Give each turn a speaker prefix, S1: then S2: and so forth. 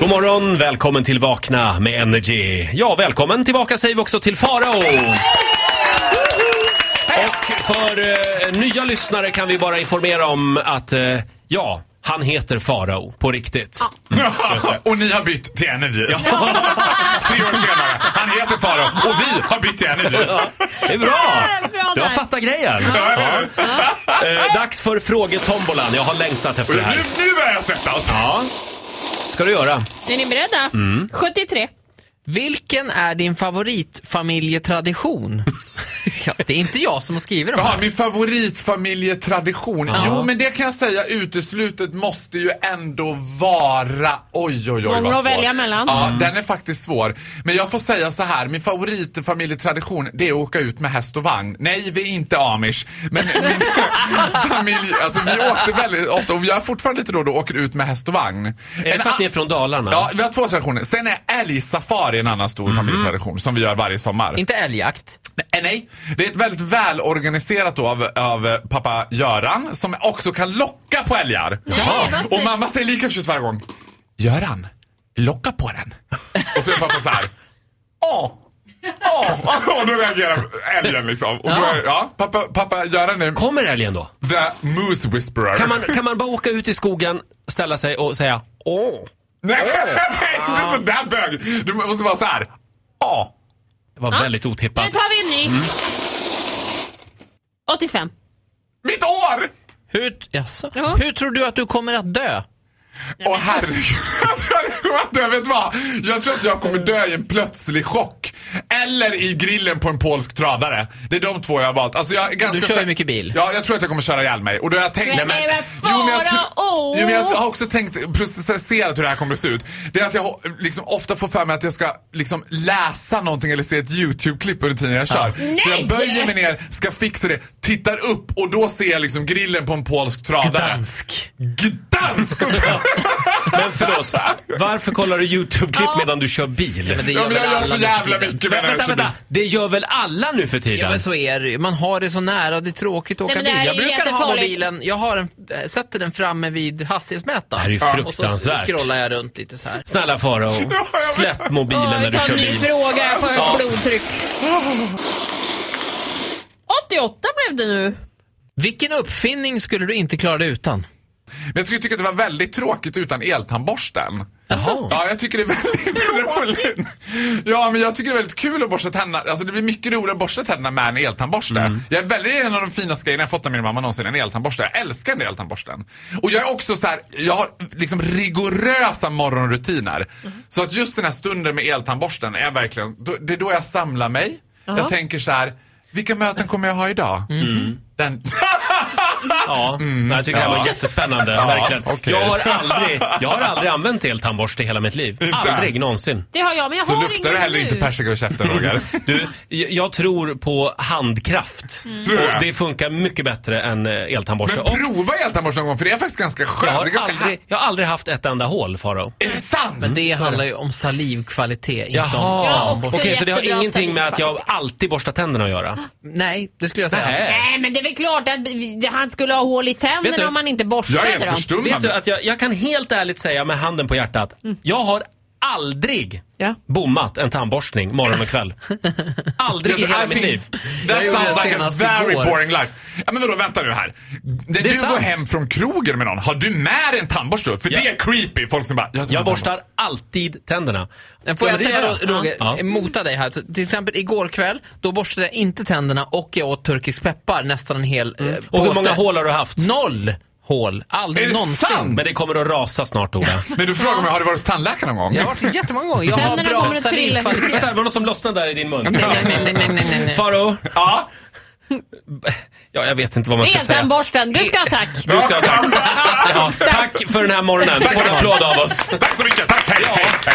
S1: God morgon, välkommen till Vakna med Energy. Ja, välkommen tillbaka säger vi också till Farao. Och för eh, nya lyssnare kan vi bara informera om att, eh, ja, han heter Farao på riktigt.
S2: och ni har bytt till Energy. Tre år senare. Han heter Farao och vi har bytt till Energy.
S1: Det är bra!
S3: Ja, bra
S1: Du har
S3: där.
S1: fattat grejen. Ja. Eh, Dags för frågetombolan. Jag har längtat efter det här.
S2: Nu, nu börjar jag svettas.
S1: Ja, ska du göra.
S3: Är ni beredda?
S1: Mm.
S3: 73.
S4: Vilken är din favoritfamiljetradition? ja, det är inte jag som har skrivit de
S2: Jaha,
S4: här.
S2: min favoritfamiljetradition. Jo, men det kan jag säga, uteslutet måste ju ändå vara... Oj, oj, oj,
S3: Många
S2: vad
S3: att
S2: svår.
S3: välja mellan.
S2: Ja,
S1: Mm.
S2: den är faktiskt svår. Men jag får säga så här, min favoritfamiljetradition, det är att åka ut med häst och vagn. Nej, vi är inte amish. Men min familj, alltså vi åkte väldigt ofta, och jag är fortfarande lite då och åker ut med häst och vagn.
S1: Är det för att ni är från Dalarna?
S2: Ja, vi har två traditioner. Sen är älgsafari en annan
S1: Mhm.
S2: stor familjetradition som vi gör varje sommar.
S4: Inte älgjakt.
S2: Nej, Eh, nej. Det är ett väldigt välorganiserat då av, av eh, pappa Göran som också kan locka på älgar.
S3: vad fint.
S2: Och mamma säger lika förtjust varje gång. Göran, locka på den. Och så är pappa så här. Åh! Åh! Och då reagerar älgen liksom. Och då är, ja, pappa, pappa Göran är
S1: Kommer älgen då?
S2: the moose whisperer.
S1: Kan man, kan man bara åka ut i skogen, ställa sig och säga åh?
S2: Nej, inte sådär bög. Du måste vara så här. Åh!
S1: Det var väldigt otippat.
S3: Nu tar vi en ny.
S1: Mm.
S3: 85.
S2: Mitt år!
S4: Hur, jaså?
S3: Ja.
S4: Hur tror du att du kommer att dö?
S2: Åh herregud, jag tror att jag kommer att dö. Vet du vad? Jag tror att jag kommer dö i en plötslig chock. Eller i grillen på en polsk tradare. Det är de två jag har valt. Alltså jag är ganska
S4: Du kör ju
S2: sä-
S4: mycket bil.
S2: Ja, jag tror att jag kommer köra ihjäl mig. Och då har jag tänkt...
S3: Men
S2: Nej,
S3: vad
S2: jo, men jag,
S3: fara, åh.
S2: tr- jo, men jag har också tänkt, processerat hur det här kommer att se ut. Det är att jag ho- liksom, ofta får för mig att jag ska liksom, läsa någonting eller se ett YouTube-klipp under tiden jag kör. Så
S3: Nej!
S2: jag böjer mig ner, ska fixa det, tittar upp och då ser jag liksom grillen på en polsk tradare.
S4: Dansk.
S2: Gdansk!
S1: Men förlåt, varför kollar du YouTube-klipp medan du kör bil?
S4: Men det
S2: Ja, men jag
S4: väl
S2: gör
S4: alla
S2: så
S4: nu för
S2: jävla
S4: tiden.
S1: Vä-
S2: mycket menar jag
S1: vänta,
S2: så
S1: vänta!
S2: mycket.
S1: Det gör väl alla nu för tiden?
S4: Ja men så är det ju. Man har det så nära och det är tråkigt att
S3: Nej,
S4: åka
S3: men det här
S4: bil. Jag
S3: är ju
S4: brukar ha
S3: jättefarligt.
S4: mobilen, jag har en, äh, sätter den framme vid hastighetsmätaren.
S1: Det här är ju
S4: Och så
S1: fruktansvärt.
S4: scrollar jag runt lite så här.
S1: Snälla Farao, släpp mobilen
S3: Åh,
S1: när
S3: vi
S1: du
S3: tar
S1: kör
S3: en ny
S1: bil.
S3: fråga. Jag får högt blodtryck. 88 blev det nu.
S4: Vilken uppfinning skulle du inte klara dig utan?
S2: Men jag skulle tycka att det var väldigt tråkigt utan eltandborsten.
S1: Jaha.
S2: Ja, jag tycker det är väldigt roligt. Ja, men jag tycker det är väldigt kul att borsta tänderna. Alltså det blir mycket roligare att borsta tänderna med en eltandborste. Jag är väldigt en av de finaste grejerna jag fått av min mamma någonsin, en eltandborste. Jag älskar den där eltandborsten. Och jag är också så här, jag har liksom rigorösa morgonrutiner.
S3: Mm.
S2: Så att just den här stunden med eltandborsten är verkligen, då- det är då jag samlar mig. Jag tänker så här, vilka möten kommer jag ha idag?
S3: Mm.
S2: Den...
S1: Ja, men jag tycker det här var jättespännande. verkligen.
S2: okej.
S1: Jag, har aldrig, jag har aldrig använt eltandborste i hela mitt liv. Aldrig någonsin.
S3: Det har jag, men jag
S2: Så
S3: har
S2: luktar
S3: ingen
S2: det heller
S3: nu.
S2: inte persika ur käften Roger.
S1: Du, jag jag tror på handkraft.
S2: Tror du
S1: Och
S2: det?
S1: det funkar mycket bättre än eh, eltandborste.
S2: Men
S1: Och
S2: prova eltandborste någon gång för det är faktiskt ganska
S1: jag,
S2: skönt.
S1: har
S2: det är, ganska
S1: aldrig, jag har aldrig haft ett enda hål, Farao.
S2: är det sant?
S4: Men det handlar ju om salivkvalitet, inte om
S1: Jaha,
S3: också
S1: okej så det har
S3: jättebra
S1: ingenting med att jag alltid borstar tänderna att göra?
S4: Nej, det skulle jag säga.
S1: Nej.
S3: Nej, men det är väl klart att vi- han skulle ha hål i
S1: Vet du-
S3: tänderna om han inte borstade
S2: jag är
S3: dem.
S1: Vet
S2: förstummad.
S1: du att jag, jag kan helt ärligt säga med handen på hjärtat,
S4: Mm.
S1: jag har aldrig
S3: Ja.
S1: bommat en tandborstning morgon och kväll. Aldrig i
S2: Yes,
S1: hela
S2: I
S1: mitt
S2: think
S1: liv.
S4: Jag
S2: That
S4: gjorde
S2: sounds
S4: det
S2: like a
S4: senast
S2: very
S4: igår.
S2: boring life. Ja, men vadå, vänta nu här. När
S1: Det är
S2: du går
S1: sant.
S2: hem från krogen med någon, har du med dig en tandborste? För
S1: Ja.
S2: det är creepy. Folk som bara...
S1: Jag borstar alltid tänderna.
S4: Men Får
S1: Ja,
S4: jag
S1: men det
S4: säga
S1: gör jag.
S4: då, Roger,
S1: Ja.
S4: mota dig här. Så, till exempel igår kväll, då borstade jag inte tänderna och jag åt turkisk peppar nästan en hel eh, påse.
S1: Mm. Och hur många hål har du haft?
S4: Noll hål.
S2: Är
S4: Aldrig
S2: det
S4: någonsin.
S2: sant?
S1: Men det kommer att rasa snart, Ola.
S2: Men du frågar mig, har du varit hos tandläkaren någon gång?
S4: Jag har varit jättemånga gånger. Jag har
S3: Tänderna
S4: bra
S3: kommer att trilla.
S4: salivkvalitet.
S1: Vänta, det var något som lossnade där i din mun.
S4: Nej, nej, nej, nej, nej, nej, nej.
S1: Faro,
S2: Ja.
S1: ja, jag vet inte vad man ska säga.
S3: Eltandborsten, du ska ha tack.
S1: Du ska ha tack. Ja, tack för den här morgonen. Du får en applåd av oss.
S2: Tack så mycket. Tack. Hej, hej, hej.